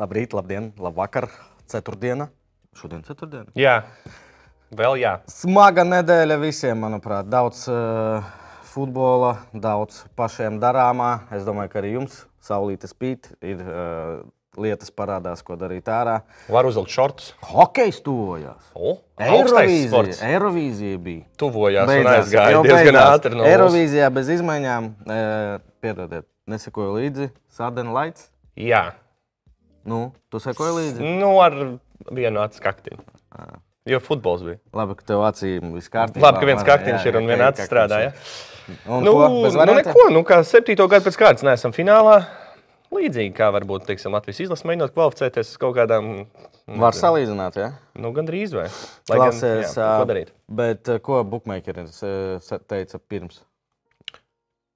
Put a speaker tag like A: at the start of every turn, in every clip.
A: Labrīt, labdien, labvakar, ceturtdiena. Šodien ceturtdiena.
B: Jā, vēl jā.
A: Smaga nedēļa visiem, manuprāt. Daudz uh, futbola, daudz pašiem darāmā. Es domāju, ka arī jums saulīte spīd, ir uh, lietas parādās, ko darīt ārā.
B: Var uzlikt šortus.
A: Hokejs tuvojās.
B: O, augstais sports.
A: Eirovīzija, Eirovīzija bija.
B: Tuvojās un
A: Beidzās,
B: aizgāja
A: jau
B: diezgan
A: beidzās.
B: ātri no Eirovīzijas.
A: Eirovīzijā bez izmaiņām, e, piedodiet, nesekoju līdzi. Sardena Laits,
B: Jā,
A: nu, tu sekoji līdzi. Ah.
B: nu ar vienu acu kaktīnu. Jo futbols bija.
A: Labi, ka tev acīm viss kārtībā.
B: Labi, ka viens
A: Var-
B: kaktīns
A: jā,
B: ir un
A: jā,
B: viena acu
A: kaktīns
B: strādā.
A: ir.
B: Ja?
A: Un
B: Nu,
A: ko, bez
B: nu,
A: variantiem?
B: neko, nu, kā septīto gadu pēc kārtas neesam finālā. Līdzīgi kā varbūt teiksim, Latvijas izlase mēģinot kvalificēties uz kaut kādām.
A: Var salīdzināt, jā.
B: Nu, gandrīz vai?
A: Klausies,
B: jā, nu,
A: ā,
B: ko darīt?
A: Bet e, ko bookmakeris e, sa- teica pirms?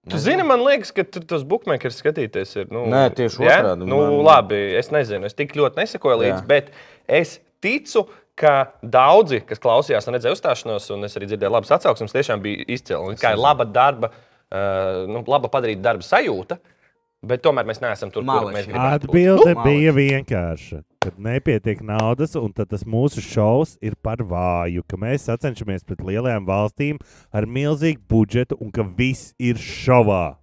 B: Tu zini, man liekas, ka tur tas bookmakeris skatīties ir. Nu,
A: Nē, tieši
B: jā?
A: otrādi,
B: Nu,
A: man-
B: labi, es nezinu, es tik ļoti nesekoju līdzi,
A: Jā.
B: bet es ticu. Ka daudzi, kas klausījās un redzēja uzstāšanos, un es arī dzirdēju, labas atsauksmes, tiešām bija izcili. Un Kā ir laba darba, uh, nu, laba padarīta darba sajūta, bet tomēr mēs neesam tur, kur
A: Maleši.
B: mēs gribētu būt.
C: Atbilde
A: Nu,
C: bija vienkārša. Kad nepietiek naudas, un tad tas mūsu šovs ir par vāju, ka mēs sacenšamies pret lielajām valstīm ar milzīgu budžetu, un ka viss ir šovā.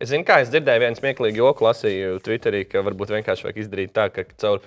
B: Es zinu, kā es dzirdēju, viens smieklīgi joku lasīju Twitterī, ka varbūt vienkārši vajag izdarīt tā, ka caur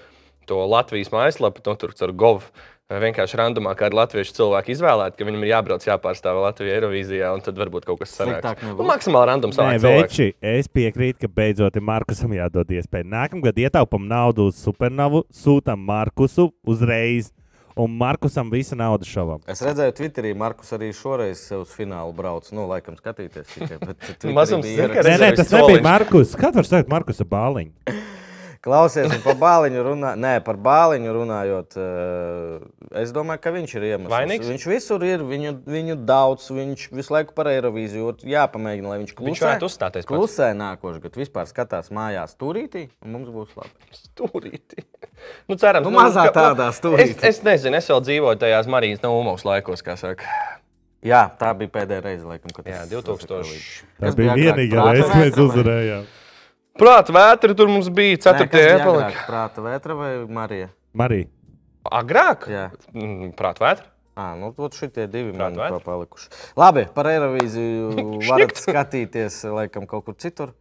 B: to Latvijas mājaslapu, no tur caur GOV. Vienkārši randomā kādu latviešu cilvēku izvēlēt, ka viņam ir jābrauc, jāpārstāv Latvijā, Eirovīzijā, un tad varbūt kaut kas
A: Sliktāk
B: sanāks.
A: nebūs.
B: Nu, maksimāli randoms
C: Nē,
B: cilvēks.
C: veči, es piekrītu, ka beidzot ir Markusam jādod iespēja. Nākamgad ietaupām naudu uz supernovu, sūtām Markusu uzreiz, un Markusam visa nauda šovam.
A: Es redzēju, Twitterī Markus arī šoreiz sev uz finālu brauc. Nu, laikam, skatīties tikai. bet Twitterī
B: Mazums
A: bija
B: zina, ka
A: ieraksts.
C: Nē, nē,
B: Rezervis
C: tas nebija
B: soliņš.
C: Markus. Kāds var teikt, Markus ir bāliņš?
A: Klausies, un par bāliņu, runā... Nē, par bāliņu runājot, eh, es domāju, ka viņš ir iemesls.
B: Vainīgs?
A: Viņš visur ir, viņu, viņu daudz, viņš visu laiku par Eirovīziju. ir Jāpamēģina, lai viņš
B: Viņš
A: klusē.
B: varētu uzstāties pats.
A: Klusē nākošais gads vispār skatās mājās turītī, un mums būs labi.
B: Stūrīti. Nu, cerams,
A: Nu, mazā tādā stūrītī.
B: Es, es nezinu, es vēl dzīvoju tajās Marijas Naumovas laikos, kā saka.
A: Jā, tā bija pēdējā reize, laikam, kad
B: Jā,
A: es-
B: 2000.
C: Tā
A: Kas
C: bija
A: agrāk?
C: vienīgā
A: Prāta
C: reize, kad mēs
A: vētra vai-
C: uzvarējām.
B: Prāt, vētri tur mums bija
A: Nē, kas
B: 4.
A: bija
B: epilogā.
A: agrāk, Prāta vētra vai Marija?
C: Marija.
B: Agrāk?
A: Jā.
B: Mm, Prāt, vētri.
A: À, nu, tad šitie divi man
B: Prāta vētra?
A: vēl palikuši. Labi, par Eirovīziju varat skatīties laikam kaut kur citur.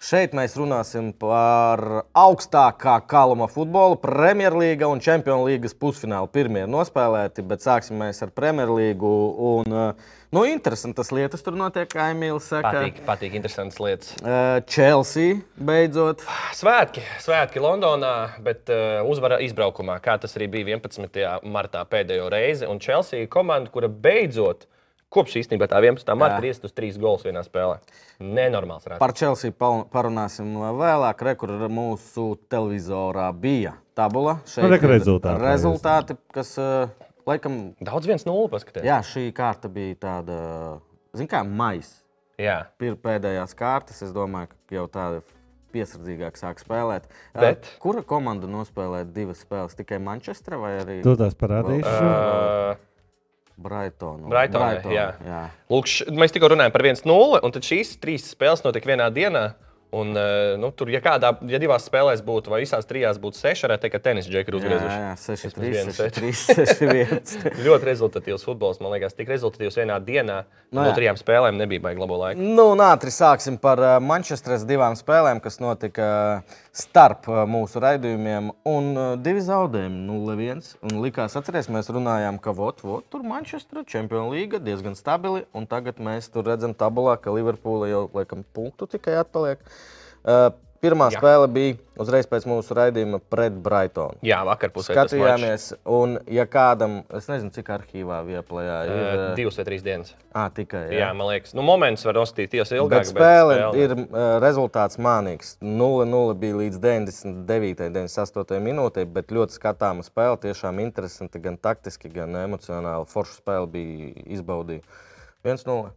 A: Šeit mēs runāsim par augstākā kaluma futbolu, Premjerlīga un Čempionlīgas pusfināla. Pirmie ir nospēlēti, bet sāksim mēs ar Premjerlīgu. Un, eh, nu, interesantas lietas tur notiek, kā Emīls saka.
B: Patīk, patīk, interesantas lietas.
A: Eh, Chelsea beidzot.
B: Svētki, svētki Londonā, bet uh, uzvara izbraukumā, kā tas arī bija 11. martā pēdējo reizi. Un Chelsea ir komanda, kura beidzot, kopš īstenībā tā 11. marta, ir iestus trīs gols vienā spēlē. Nenormāls rādītājs.
A: Par Chelsea pal- parunāsim vēlāk. Re, Kur mūsu televizorā bija tabula. Šeit
C: Nu, re, ka
A: ir
C: rezultāti.
A: Rezultāti, kas eh, laikam,
B: Daudz viens nulle paskatās.
A: jā, šī kārta bija tāda, zināmā kā maisa.
B: Jā.
A: Pir- Pēdējās kārtas, es domāju, ka jau tāda piesardzīgāk sāk spēlēt. Eh,
B: Bet?
A: Kura komanda nospēlē divas spēles? Tikai Manchestra vai arī
C: Tu tās parādīšu.
B: Uh,
A: Brightonu?
B: Brightonai,
A: Brightonu,
B: jā.
A: jā.
B: Lūk, š- mēs tikko runājām par 1-0, un tad šīs trīs spēles notika vienā dienā. Un, eh, nu, tur, ja kādā, ja divās spēlēs būtu, vai visās trijās būtu seši, varētu teikt, ka tenisa džekļi ir
A: Jā,
B: uzgriezuši.
A: jā, 6,
B: Vismaz
A: 3,
B: vienu
A: 6,
B: seti.
A: 3, 6, 1.
B: Ļoti rezultatīvs futbols, man liekas, tik rezultatīvs vienā dienā.
A: Nu
B: No, no
A: jā.
B: trijām spēlēm nebija baigta laba laika.
A: Nu, un ātri sāksim par ā, Manchesteras divām spēlēm, kas notika eh, starp ā, mūsu raidījumiem. Un ā, divi zaudējumi, 0-1. Un likās, atcerieties, mēs runājām, ka vot, vot, tur Manchestera Champions League diezgan stabili. Un tagad mēs tur redzam tabulā, ka Liverpoola jau laikam punktu tikai atpaliek. Ā, Pirmā Jā.
B: Jā.
A: spēle bija uzreiz pēc mūsu raidījuma pret Brightonu.
B: Jā, vakar pusē tas mačs.
A: Skatījāmies, un, ja kādam, es nezinu, cik arhīvā vieplējā ir.
B: Eh,
A: ā,
B: Divas vai trīs dienas.
A: ā, tikai,
B: Jā, jā man liekas, nu, moments var nostīties ilgāk.
A: Bet spēle, spēle ir uh, rezultāts mānīgs. 0-0 bija līdz 99, 98 minūtei, bet ļoti skatāma spēle. Tiešām interesanti, gan taktiski, gan emocionāli. Forša spēle bija izbaudīta. 1-0.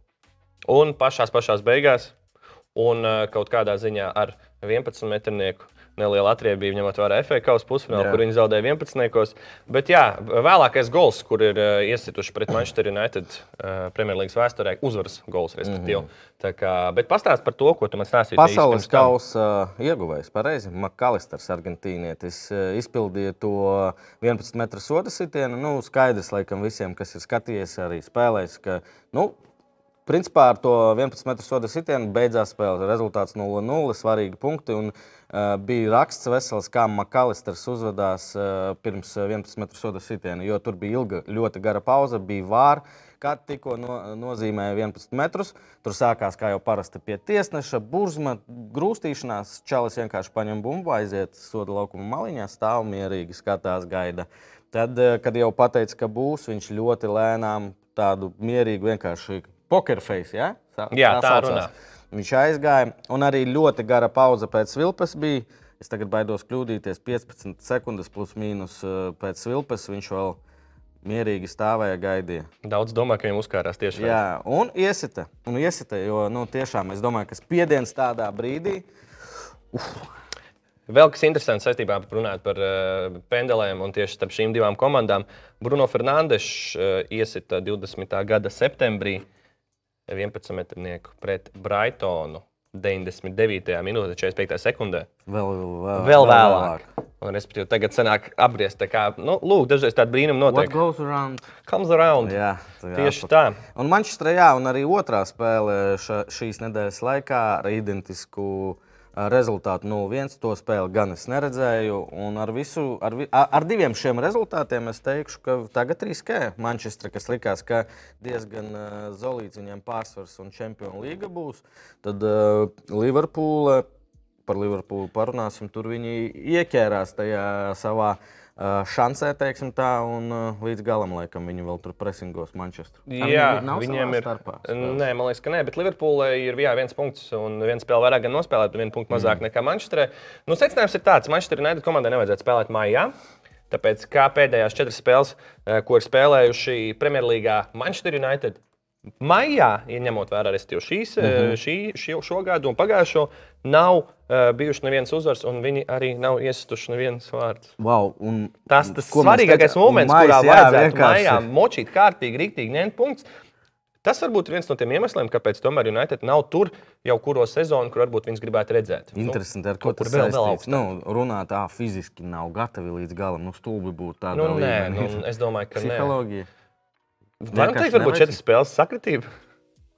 B: Un pašās pašās beigās, un eh, kaut kādā ziņā ar 11 metrnieku neliela atriebība, ņemot vērā FFA kausa pusfinālu,
A: Jā.
B: kur viņi zaudēja 11. Bet jā, vēlākais gols, kur ir uh, iesituši pret Manchester United uh, Premjerlīgas vēsturē, uzvaras gols, respektīvi. Mm -hmm. Tā kā, bet pastāst par to, ko tu man stāstīji. īsi
A: Mhm. Pasaules
B: pirms tam.
A: kausa ieguvējs, pareizi. Makalisters, argentīnietis, eh, izpildīja to 11 metru soda sitienu. Nu, skaidrs, laikam, visiem, kas ir skatījies, arī spēlējis, ka, nu, principā ar to 11 metru soda sitienu beidzās spēle. Rezultāts 0-0, svarīgi punkti. Un, eh, bija raksts vesels, kā Makalisters uzvedās eh, pirms eh, 11 metru soda sitiena, jo tur bija ilga, ļoti gara pauze, bija vārds. Kad tikko no, nozīmēja 11 metrus, tur sākās, kā jau parasti, pie tiesneša burzma, grūstīšanās. Čalis vienkārši paņem bumbu, aiziet soda laukuma maliņā, stāv mierīgi, skatās, gaida. Tad, eh, kad jau pateica, ka būs, viņš ļoti lēnām tādu mierīgu, vienkārši pokerface. Ja?
B: Jā, tā
A: saucās.
B: runā.
A: Viņš aizgāja, un arī ļoti gara pauze pēc vilpas bija. Es tagad baidos kļūdīties 15 sekundes plus mīnus eh, pēc vilpas. Viņš vēl mierīgi stāvēja, gaidīja.
B: Daudz domā, ka viņam uzkārās tieši
A: Jā, un iesita. Un iesita jo nu, tiešām es domāju, ka spiediens tādā brīdī.
B: Vēl kas interesants saistībā ar runāt par uh, pendelēm un tieši starp šīm divām komandām. Bruno Fernandes uh, iesita 20. gada septembrī 11 metrnieku pret Brightonu 99. minūtē 45. sekundē.
A: Vēl, vēl,
B: Vēl vēlāk. Un, respektīvi, tagad sanāk apgriezt. tā Kā, nu, lūk, dažreiz tāda brīnuma
A: What
B: notiek.
A: goes around?
B: Comes around. Jā,
A: Jā, tā
B: tieši tā.
A: Un Manchesterā, jā, un arī otrā spēle ša, šīs nedēļas laikā ar identisku ā, rezultātu 0-1. To spēli gan es neredzēju. Un ar, visu, ar, vi- a- ar diviem šiem rezultātiem es teikšu, ka tagad riskē Manchester, kas likās, ka diezgan ā, zolīts viņiem pārsvars un čempionu līga būs. Tad ā, Liverpūle. Par Liverpūlu parunāsim. Tur viņi ieķērās tajā savā uh, šansē, teiksim tā, un uh, līdz galam, laikam, viņi vēl tur presingos Manchesteru. Ar viņiem nav savā starpā spēles?
B: Nē, man liekas, ka nē, bet Liverpūlē ir jā, viens punkts un viens spēle vairāk gan nospēlēt, bet viens punkts mazāk mm. nekā Manchesterē. Nu, secinājums ir tāds, ka Manchester United komandai nevajadzētu spēlēt mājā. Tāpēc kā pēdējās četras spēles, eh, ko ir spēlējuši Premjerlīgā Manchester United, maijā, ja ņemot vērā arī šīs, mm
A: Mhm.
B: -hmm. šī, šī, šo gadu un pagājušo, nav uh, bijuši nevienas uzvaras, un viņi arī nav iestuši nevienas vārdas.
A: Wow, un,
B: Tas tas
A: ko mēs
B: svarīgākais
A: tagad-
B: moments,
A: Mājas,
B: mais, kurā
A: jā,
B: vajadzētu
A: vienkārši.
B: mājā močīt kārtīgi, rīktīgi ņemt punktus. Tas varbūt ir viens no tiem iemesliem, kāpēc tomēr United nav tur jau kuro sezonu, kur varbūt viņas gribētu redzēt. Nu,
A: Interesanti, ar ko
B: kaut kur
A: tas
B: vēl- vēl
A: saistīts.
B: augstāk.
A: Nu, runā tā, fiziski nav gatavi līdz galam. Nu, stulbi būtu tāda
B: Nu, nē,
A: līmenī.
B: nu, es domāju, ka nē.
A: psiholoģija.
B: Varam teikt,
A: Vienkārši
B: varbūt
A: nevajag.
B: četras spēles sakritība.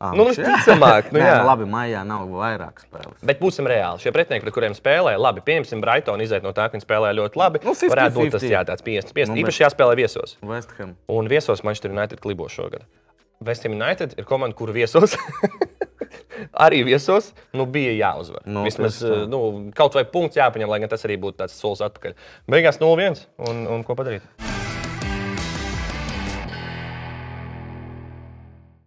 A: Ah,
B: Nu, visticamāk, nu,
A: nē,
B: jā.
A: nu, labi, maijā nav vairāk spēles.
B: Bet būsim reāli. Šie pretinieki, pret kuriem spēlē, labi, pieņemsim, Brighton iziet no tā, ka viņi spēlē ļoti labi.
A: Nu, 50-50.
B: Varētu būt tas jā, tāds 50-50.
A: Nu,
B: Nu,
A: bet-
B: Īpaši jāspēlē viesos.
A: Vestham.
B: Un viesos Manchester United klibo šogad. Vestam United ir komanda, kur viesos. arī viesos nu, bija jāuzvar.
A: Nu,
B: Nu, Vismaz
A: tieši tā.
B: eh, nu, kaut vai punkts jāpaņem, lai gan tas arī būtu tāds solis atpakaļ. Beigās 0-1 un, un ko padarīt?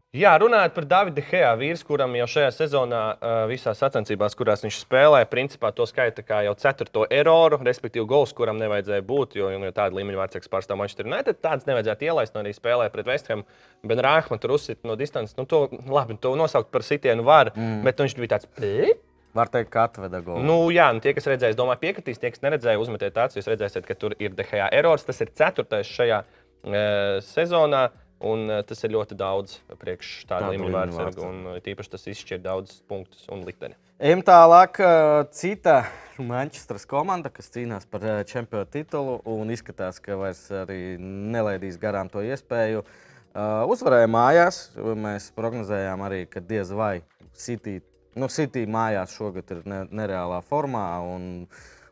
B: Jā, runājot par Davida Hēja vīru, kuram jau šajā sezonā eh, visās sacensībās, kurās viņš spēlē, principā to skaita kā jau ceturto eroru, respektīvi gols, kuram nevajadzēja būt, jo, jo tāda līmeņa vārdsargs pārstāv Manchester United, tāds nevajadzētu ielaist un arī spēlē pret Vestham. Ben Rāhma tur uzsita no distances, nu to, labi, to nosaukt par sitienu var, mm. bet viņš bija tāds. "Pi?"
A: Var teikt, ka atveda golu.
B: Nu, jā, nu, tie, kas redzēs, domāju, piekritīs. Tie, kas neredzēja, uzmetiet tādu, jūs redzēsiet, ka tur ir DHA erors. Tas ir ceturtais šajā e, sezonā, un e, tas ir ļoti daudz priekš tāda
A: Tādu
B: līmeņa
A: līmeņu
B: vārdsargu. Un e, tīpaši tas izšķir daudz punktus un likteni.
A: Ejam tālāk. eh, Cita Manchesteras komanda, kas cīnās par eh, čempionu titulu un izskatās, ka vairs arī nelaidīs garām to iespēju. Eh, Uzvarēja mājās. Mēs prognozējām arī, ka diez vai City, nu, City mājās šogad ir ne, nereālā formā. Un,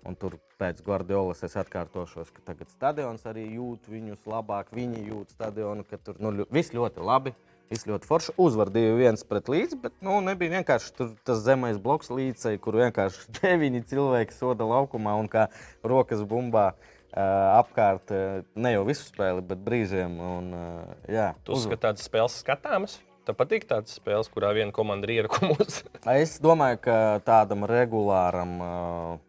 A: un tur pēc Guardiolas es atkārtošos, ka tagad stadions arī jūt viņus labāk. Viņi jūt stadionu, ka tur nu, ļo- viss ļoti labi. Viss ļoti forši. Uzvar 2-1 pret līdzi, bet nu, nebija vienkārši tur tas zemais bloks līdzekļi, kur vienkārši deviņi cilvēki soda laukumā un kā rokas bumbā uh, apkārt uh, ne jau visu spēli, bet brīžiem. Un, uh, jā,
B: Tu uzskati tādas spēles skatāmas. Tev patīk tādas spēles, kurā viena komanda ir ierakumos.
A: Es domāju, ka tādam regulāram, ā,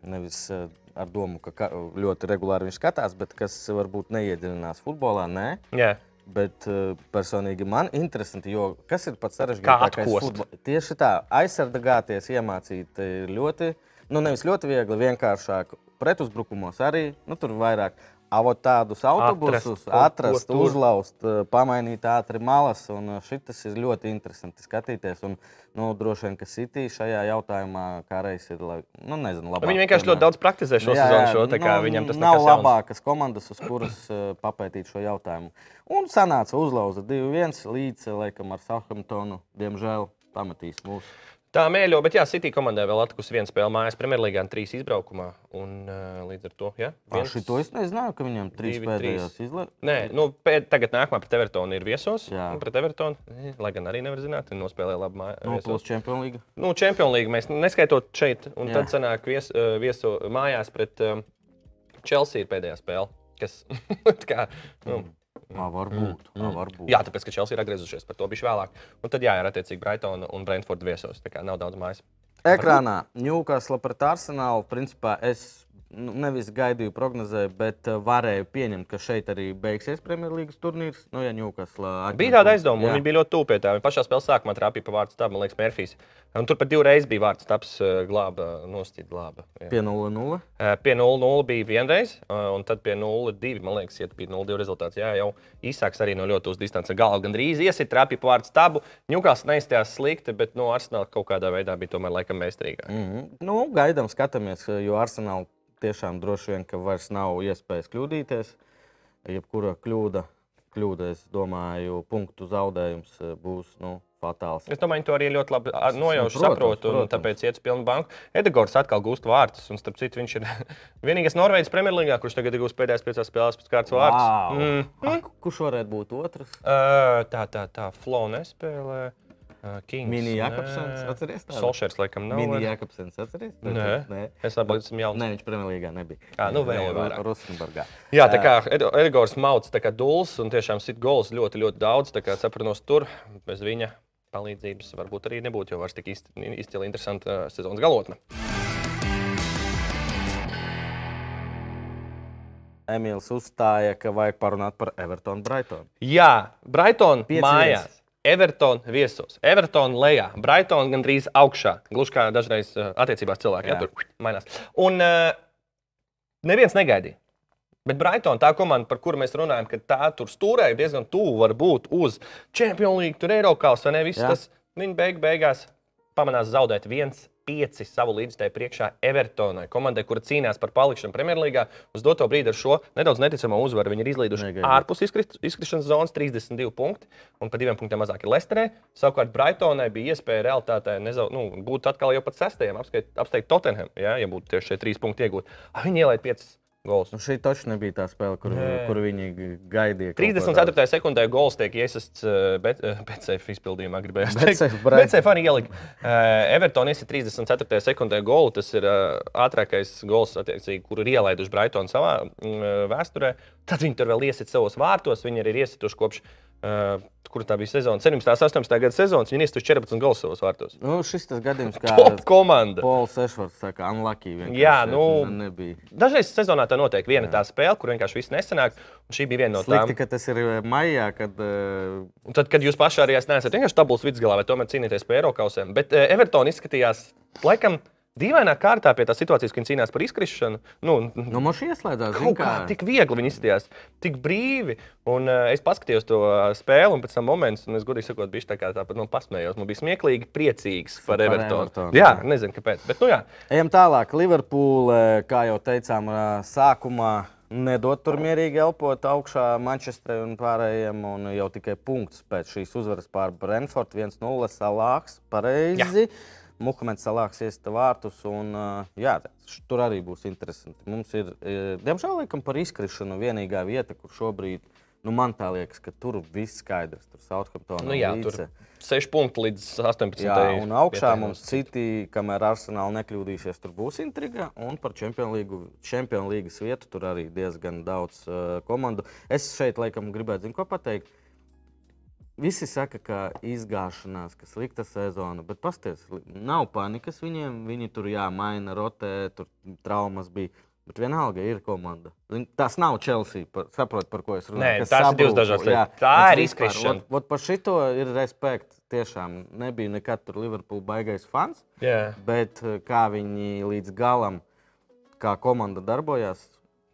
A: nevis ā, ar domu, ka ka ļoti regulāri viņš skatās, bet kas varbūt neiedziļinās futbolā, nē.
B: jā,
A: Bet ā, personīgi man interesanti, jo kas ir pats
B: Kā
A: sarežģītākais
B: atkost.
A: futbolā? eh, Tieši tā, aizsargāties, iemācīt ir ļoti, nu nevis ļoti viegli, vienkāršāk. pretuzbrukumos arī nu, tur vairāk. Avot tādus autobusus,
B: kaut ko
A: atrast,
B: tur.
A: uzlauzt, eh, pamainīt ātri malas. Šis ir ļoti interesanti skatīties. Un, nu, droši vien, ka City šajā jautājumā kā reizes ir la- nu, nezinu, labāk.
B: Viņi vienkārši ļoti daudz praktizē šo
A: Jā,
B: sezonu. Šo, tā
A: nu,
B: kā viņam tas
A: nav
B: nekas jauns.
A: labākas komandas, uz kuras eh, papētīt šo jautājumu. Un sanāca uzlauza 2-1 līdz eh, laikam ar Southamptonu. Diemžēl pametīs mūsu.
B: Tā mēļo, bet jā, City komandai vēl atlikusi viena spēle mājās, Premjerlīgā un trīs izbraukumā. Un uh, līdz ar to, jā,
A: Viens, šito es nezināju, ka viņam trīs
B: divi,
A: pēdējos izlaiž.
B: Nē, nu, pēd, tagad nākamā pret Evertonu ir viesos.
A: Jā.
B: Jā, pret Evertonu. eh, Lai gan arī nevar zināt, viņi nospēlēja labu
A: No
B: māju.
A: plus Champions League.
B: Nu, Čempionu līniju mēs neskaitot šeit, un
A: Jā.
B: Jā. tad sanāk vies, eh, vieso mājās pret um, Chelsea ir pēdējā spēle. Kas, tā kā, nu, Mm.
A: Nā, Mm. varbūt. Nā, varbūt.
B: jā, tāpēc, ka Chelsea ir atgriezušies, par to bija vēlāk. Un tad jā, ir attiecīgi Brighton un Brentford viesos. Tā kā nav daudz mājas.
A: Ekrānā Ņūkāsla pret Arsenālu. Principā es nu, nevis gaidīju, prognozēju, bet eh, varēju pieņemt, ka šeit arī beigsies Premjerlīgas turnīrs. Nu, ja Ņūkāsla
B: Bija tāda aizdoma, un viņi bija ļoti tuvu pie tā. Viņa pašā spēlē sākumā trāpīja pa vārdu stāvu, man liekas, Mērfijs. Un tur pat divreiz bija vārds stāvs, glāba, nostīta glāba. Jā.
A: pie 0-0.
B: Eh, Pie 0-0 bija vienreiz, eh, un tad pie 0-2, man liekas, iet bija 0-2 rezultāts. Jā, jau īsāks arī no ļoti tuvas distances. Gala gan drīz iesit, trāpīja pāri stabu. Ņukās neizstājās slikti, bet no Arsenāla kaut kādā veidā bija tomēr laikam mēstīgāk.
A: Mhm. Nu, gaidām, skatāmies, jo Arsenāla tiešām droši vien, ka vairs nav iespējas kļūdīties. Jebkura kļūda, kļūda es domāju, punktu zaudējums eh, būs nu, fatāls.
B: Es domāju, viņi to arī ļoti labi a, nojaušu,
A: Protams,
B: saprotu, un
A: protams.
B: tāpēc iet uz pilnu banku. Edgars atkal gūst vārdus, un starp citu, viņš ir vienīgais Norvēģis Premjerlīgā, kurš tagad ir gūst pēdējās piecās spēlēs pēc kārtas vārdus.
A: Vau!
B: Mm.
A: A, Ah, ku- Kurš varētu būt otrs?
B: Ā, tā, tā, tā, Flo nespēlē. ā, Kings,
A: Mini
B: nē.
A: Jakobsens, atceries tādu?
B: Solšers, laikam, nav. vai ne?
A: Mini Jakobsens, atceries?
B: Nē.
A: Nē.
B: Es domāju, ka tas ir jauns.
A: Nē, viņš Premjerlīgā nebija.
B: Ā, nu, vēl
A: Viņš
B: jau
A: Ru-
B: vairāk.
A: Rosenborgā.
B: Jā, tā kā Edgars Mauts, tā kā dūls un tiešām sit gols ļoti, ļoti daudz. Tā kā sapranos tur bez viņa palīdzības varbūt arī nebūtu, jo vairs tik izci- izcili interesanta ā, sezonas galotne.
A: Emīls uzstāja, ka vajag parunāt par Evertonu Brightonu.
B: Jā, Brighton
A: Pieci
B: mājās. Everton viesos. Everton lejā, Brighton gandrīz augšā. Gluži kā dažreiz ā, attiecībās cilvēki. Jā,
A: Jā.
B: tur mainās. Un ā, neviens negaidīja. Bet Brighton, tā komanda, par kuru mēs runājam, ka tā tur stūrēja diezgan tuvu, var būt uz Champions League, tur Eiropas vai ne? Viss
A: Jā.
B: tas viņa beig beigās pamanās zaudēt 1-5 savu līdzstēju priekšā Evertonai, komandai, kura cīnās par palikšanu Premjerlīgā. Uz doto brīdi ar šo nedaudz neticamo uzvaru viņi ir izlīduši
A: Negaidīt.
B: ārpus izkrit- izkrišanas zonas, 32 punkti, un par diviem punktiem mazāk ir Lesterē. Savukārt Brightonai bija iespēja realitātē nezau, nu, būt atkal jau pat sestajam, apskait- apsteigt Tottenham, ja, ja būtu tieši šie trīs punkti iegūti. Ah, Viņi ielaid 5 golus.
A: Nu, šī taču nebija tā spēle, kur,
B: Nē.
A: kur viņi g- gaidīja. kaut ko tādu.
B: 34. sekundē gols tiek eh, iesaists Bēcēfas izpildījumā. Gribēju
A: Betsafe Brighton.
B: Bēcēfā arī ielika. Eh, Everton iesa 34. sekundē golu. Tas ir eh, ātrākais gols, attiecīgi, kuru ir ielaiduši Brighton savā mm, vēsturē. Tad viņi tur vēl iesit savos vārtos. Viņi arī ir iesituši kopš, eh, kur tā bija sezona. 17. 18. gada sezonas viņi iesituši 14 gols savos vārtos.
A: Nu, šis tas gadījums, kā
B: Top komanda!
A: Pols Ešvards saka, unlucky. vienkārši,
B: Jā, nu,
A: ne- Nebija.
B: Dažreiz sezonā tā notiek viena tā spēle, kur vienkārši viss nesanāk. un Šī bija viena no tām.
A: Slikti, ka tas ir eh, maijā, kad eh,
B: Un Tad, kad jūs pašā arī neesat vienkārši tabulas vidusgalā, vai tomēr cīnīties par Eiropausiem, bet uh, Everton izskatījās laikam dīvainā kārtā pie tās situācijas, kad viņi cīnās par izkrišanu. Nu,
A: nu, moši ieslēdzās. zini
B: Kaut kā tik viegli viņi izskatījās, tik brīvi. Un, uh, es paskatījos to uh, spēli, un pēc tam moments, un es godīgi sakot, bija tā kā tāpat no pasmējos. Man bija smieklīgi, priecīgs par
A: Par
B: Evertonu.
A: Evertonu.
B: Jā, nezinu kāpēc. Bet, nu, jā,
A: Ejam tālāk. Liverpūle, kā jau teicām, ā, sākumā nedod tur mierīgi elpot augšā Manchesterai un pārējiem. Un jau tikai punkts pēc šīs uzvaras pār Brentford 1-0 salāks. Pareizi. Muhameds salāks iesta vārtus. Un, ā, jā, š- tur arī būs interesanti. Mums ir, e, diemžēl, laikam par izkrišanu vienīgā vieta, kur šobrīd. Nu, man tā liekas, ka tur viss skaidrs. Tur Southamptonā
B: nu, jā tur 6 punkti līdz 18.
A: Jā, un augšā
B: vietai.
A: mums City, kamēr Arsenāla nekļūdīsies, tur būs intriga. Un par Champions League- Champions Leagues vietu tur arī diezgan daudz uh, komandu. Es šeit laikam gribētu zinu, ko pateikt. Visi saka, ka izgāšanās, ka slikta sezona, bet pasties, li- nav panikas viņiem. Viņi tur jāmaina, rotē, tur traumas bija. Bet vienalga ir komanda. Zin, Tas nav Chelsea, par, saprot, par ko es runāju.
B: Nē,
A: kas
B: tās ir divas
A: sabrūka,
B: dažādas
A: jā.
B: lietas. Tā
A: Bet
B: ir
A: vispār,
B: izkrišana.
A: Vot, vot par šito ir respekts. Tiešām nebija nekad tur Liverpools baigais fans,
B: Jā.
A: bet eh, kā viņi līdz galam kā komanda darbojās.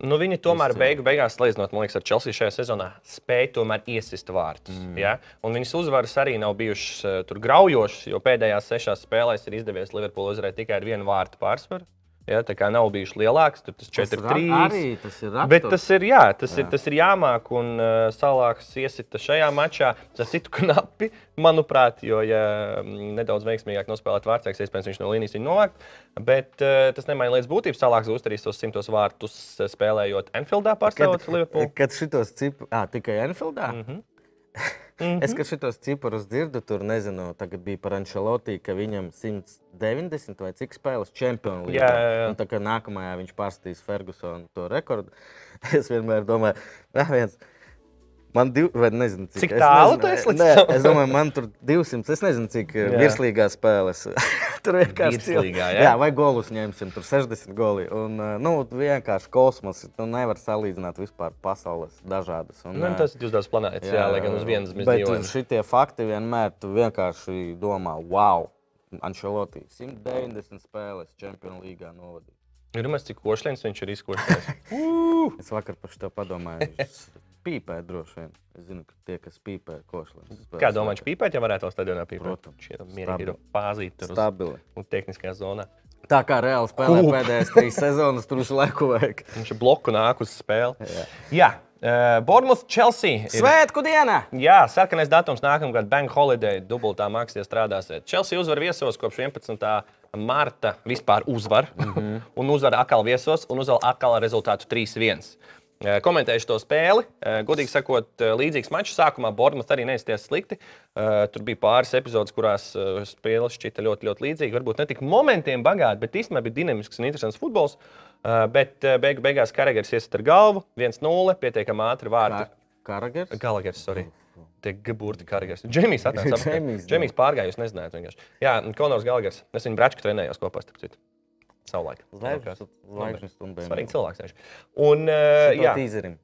B: Nu, viņi tomēr
A: Izcili.
B: beigu, beigās, salīdzinot man liekas, ar Chelsea šajā sezonā, spēja tomēr iesist vārtus. Mm. Ja? Un viņas uzvaras arī nav bijušas eh, tur graujošas, jo pēdējās sešās spēlēs ir izdevies Liverpool uzvarēt tikai ar vienu vārtu pārsvaru. Ja? Tā kā nav bijušas lielākas, tur tas
A: Tas ra-
B: 4-3.
A: arī tas ir
B: Bet tas
A: raksturs.
B: ir, jā, tas, jā.
A: Jā.
B: Ir, tas ir jāmāk, un uh, Salāks iesita šajā mačā. Tas ir knapi, manuprāt, jo, ja mm, nedaudz veiksmīgāk nospēlēt vārtsēks, iespējams, viņš no līnijas ir novākt. Bet uh, tas nemaina līdz būtības. Salāks uzturīs tos simtos vārtus, eh, spēlējot Enfieldā pārstāvot Mhm. Liverpoolu.
A: kad šitos ciparus, ah, tikai Enfieldā? Mm -hmm.
B: Mhm.
A: es, kad šitos ciparus dzirdu, tur nezinu, tagad bija par Ančelotī, ka viņam 190 vai cik spēles čempionu
B: Jā, jā, jā.
A: līnijā. Tā kā nākamajā viņš pārstīs Fergusonu to rekordu, es vienmēr domāju, nē, viens. Man div, vai nezinu, cik,
B: Cik
A: es
B: tālu
A: nezinu,
B: tu esi līdz
A: nē,
B: tam?
A: Es domāju, man tur 200, es nezinu, cik
B: Jā.
A: jā. virslīgā spēlēs. tur vienkārši cil-
B: Virslīgā, jā?
A: jā, vai golus ņemsim, tur 60 goli. Un, eh, nu, vienkārši kosmos. Tu nevari salīdzināt vispār pasaules dažādas. Un,
B: Nu,
A: eh,
B: tas ir uzdevis planētas, jā, jā, lai gan uz vienas mēs
A: Bet
B: dzīvojam.
A: šie fakti vienmēr tu vienkārši domā, wow, Ančelotī 190 spēles Champions League novadīja.
B: Ir maz cik košļiens viņš ir izkošļiens.
A: Es vakar par šo padomāju. viņš Pīpē droši vien. Es zinu, ka tie, kas pīpē, košļiem.
B: Kā domā, viņš pīpēt, ja varētu to stadionā pīpēt?
A: Protams.
B: Viņš ir mierīgi ir
A: Stabili.
B: pāzīt tur uz,
A: Stabili.
B: un tehniskajā zonā.
A: Tā kā reāli spēlē
B: Kūp.
A: pēdējās trīs sezonas, tur visu laiku vajag.
B: Viņš ir bloku nāk uz spēli. Jā, jā uh, Bormuth, Chelsea. ir-
A: Svētku dienā!
B: Jā, sarkanais datums nākamgad, Bank Holiday, dubultā mākslā strādāsiet. Chelsea uzvar viesos kopš 11. marta. Vispār uzvar. Mm -hmm. Un uzvar atkal viesos, un uzvar atkal ar rezultātu 3-1. Eh, Komentējuši to spēli. Eh, Godīgi sakot, eh, līdzīgs mačs sākumā Bormuth arī neizties slikti. Eh, Tur bija pāris epizodes, kurās eh, spēle šķita ļoti, ļoti līdzīga. Varbūt ne tik momentiem bagāta, bet īstenībā bija dinamisks un interesants futbols. Eh, Bet eh, beigu, beigās Karagers iesita ar galvu 1-0, pietiekami ātri vārti.
A: Karagers.
B: Galagers, sorry. Tie gaburti kargers. Džemijs atnāca.
A: Džemijs, Oh,
B: apakaļ.
A: jā.
B: Džemijs pārgāja, jūs nezinājāt vienkārši. Jā, un Konors Galagers. Es viņu bračku trenējos kopā, starp citu. Savulaik.
A: Zvaigžņu
B: Labi.
A: zvaigžņu stundē.
B: Svarīgi cilvēks. viņš. Un, uh,
A: To
B: jā,
A: tīzerim.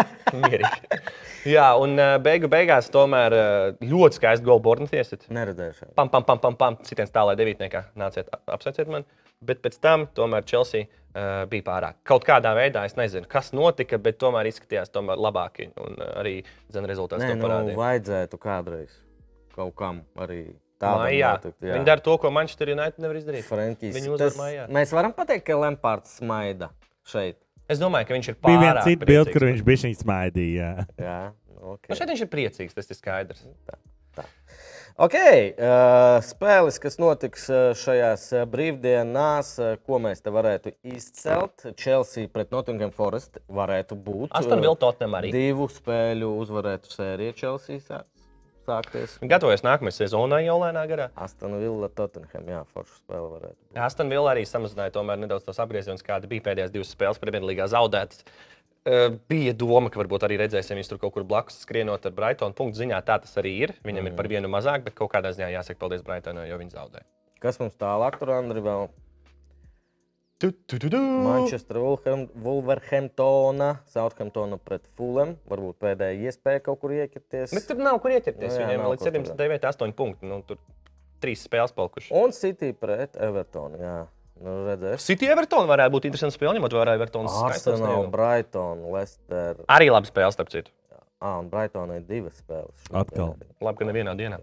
B: mierīgi. jā, un uh, beigu beigās tomēr uh, ļoti skaisti gola bornas iesiet.
A: Neredzēju šādu.
B: Pam, pam, pam, pam, pam. Citiem stāvā devītniekā nāciet, a- apsveiciet mani. Bet pēc tam tomēr Chelsea uh, bija pārāk. Kaut kādā veidā es nezinu, kas notika, bet tomēr izskatījās tomēr labāki. Un uh, arī zina rezultāts
A: Nē,
B: to
A: nu,
B: parādīja.
A: vajadzētu kādreiz kaut kam arī tādam
B: Mājā.
A: notikt, jā.
B: Nu, Viņi dara to, ko Manchester United nevar izdarīt.
A: Frankijs.
B: Viņi uzvar mājā.
A: Mēs varam pateikt, ka Lampards smaida šeit.
B: Es domāju, ka viņš ir
C: Bija
B: pārāk
C: viena cita bilde, kur
B: priecīgs.
C: viņš bija šīs smaidījis.
A: Jā, ok.
B: Nu, šeit viņš ir priecīgs, tas ir skaidrs.
A: Ok, uh, spēles, kas notiks uh, šajās uh, brīvdienās, uh, ko mēs te varētu izcelt. Chelsea pret Nottingham Forest varētu būt.
B: Aston Villa Tottenham arī.
A: Divu spēļu uzvarētu sērija Chelsea sā- sākties.
B: Gatavojas nākamajai sezonai jau lēnā garā.
A: Aston Villa Tottenham, jā, forša spēle varētu būt.
B: Aston Villa arī samazināja tomēr nedaudz tos apgriezienus, kāda bija pēdējās divas spēles Premjerlīgā zaudētas. Eh, Bija doma, ka varbūt arī redzēsim viņu tur kaut kur blakus skrienot ar Brightonu. Punktu ziņā tā tas arī ir. Viņam mm. ir par vienu mazāk, bet kaut kādā ziņā jāsaka paldies Brightonai, jo viņi zaudēja.
A: Kas mums tālāk tur, Andri, vēl?
B: Tu, tu, tu, tu.
A: Manchester, Wolverham- Wolverhamptona, Southamptona pret Fulham. Varbūt pēdējā iespēja kaut kur iekrities.
B: Bet tur nav kur ietekties.
A: Nu jā,
B: Viņam
A: nav
B: līdz
A: kur tur.
B: 79, 8 punkti. Nu, tur trīs spēles palikušas.
A: Un City pret Evertonu. Jā, nu, redzēsim.
B: City Everton varētu būt interesants spēle, ņemot vērā Evertonas skaistos
A: Arsenal,
B: sniegumus.
A: Brighton, Leicester.
B: Arī labi spēlē, starp citu.
A: Ah, un Brightonai ir divas spēles. šodien.
C: Atkal.
B: Labi, ka nevienā dienā.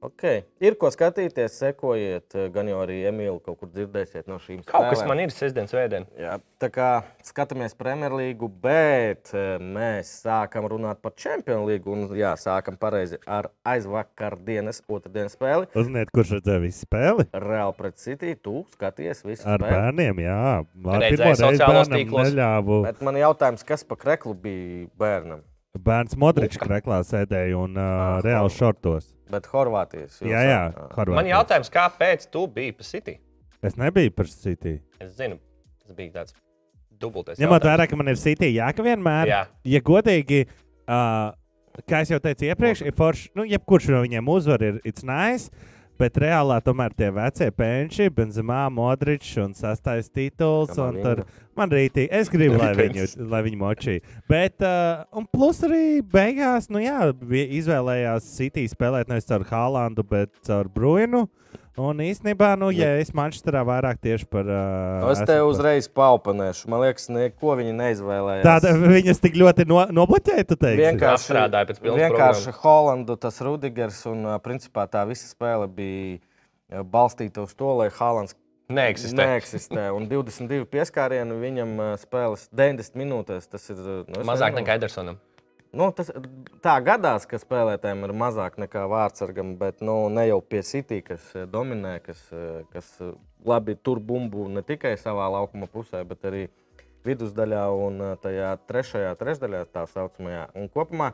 A: Okay. Ir ko skatīties, sekojiet, gan jau arī Emīlu kaut kur dzirdēsiet no šīm
B: Kaut kas
A: spēlēm.
B: man ir sestdienas vēdienā.
A: Jā, tā kā skatāmies Premjerlīgu, bet eh, mēs sākam runāt par Champions League. Un, jā, sākam pareizi ar aizvakardienas otrdienas spēli.
C: Uzziniet, kurš redzēja visu spēli?
A: Real pret City, tu skaties visu
C: Ar
A: spēli.
C: bērniem, jā. Man
B: Redzēju
C: pirmā reize
B: sociālos
C: bērnam
B: tīklos.
C: neļāvu.
A: Bet man jautājums, kas pa kreklu bija bērnam?
C: Bērns Modričs kreklā sēdēja un uh,
B: Ah,
A: Aha.
C: reāli šortos.
A: Bet Horvātijas. jūs
C: Jā, jā,
A: esat, ā.
C: Horvātijā.
B: oh. Man jautājums, kāpēc tu biji pa City?
C: Es nebiju par City.
B: Es zinu, tas bija tāds dubultais.
C: Ņemot
B: jautājums.
C: vērā, ka man ir City, jā, ka vienmēr,
B: Jā.
C: ja godīgi, uh, kā jau teicu iepriekš, ir forši, nu, jebkurš no viņiem uzvar ir it's nice. Bet reālā tomēr tie vecie pēnči, Benzemā, Modričs un sastais tituls.
A: Kamavinga.
C: Un tur Man rītī, es gribu, lai
B: Rītdienas.
C: viņu, lai viņu močīja. Bet, uh, un plus arī beigās, nu jā, vi- izvēlējās City spēlēt nevis ar Hālandu, bet ar Bruinu. Un īstenībā, nu, ja es Manchesterā vairāk tieši par. Uh,
A: nu, Es te uzreiz paupanēšu. Man liekas, neko viņi neizvēlējās.
C: Tāda viņas tik ļoti no, nobloķēja, tu teiksi?
A: vienkārši
B: Apstrādāja pēc pilnas
A: Vienkārši Holandu, tas Rudigers un ā, principā tā visa spēle bija ā, balstīta uz to, lai Haalands
B: Neeksistē.
A: neeksistē. Un 22 pieskārieni viņam ā, spēles 90 minūtēs. Tas ir ā, nu, es
B: Mazāk
A: nezinu.
B: nekā Edersonam.
A: Nu, tas, tā gadās, ka spēlētājiem ir mazāk nekā vārdsargam, bet nu, ne jau pie City, kas eh, dominē, kas, eh, kas eh, labi tur bumbu ne tikai savā laukuma pusē, bet arī vidusdaļā un eh, tajā trešajā trešdaļā, tā saucamajā. Un kopumā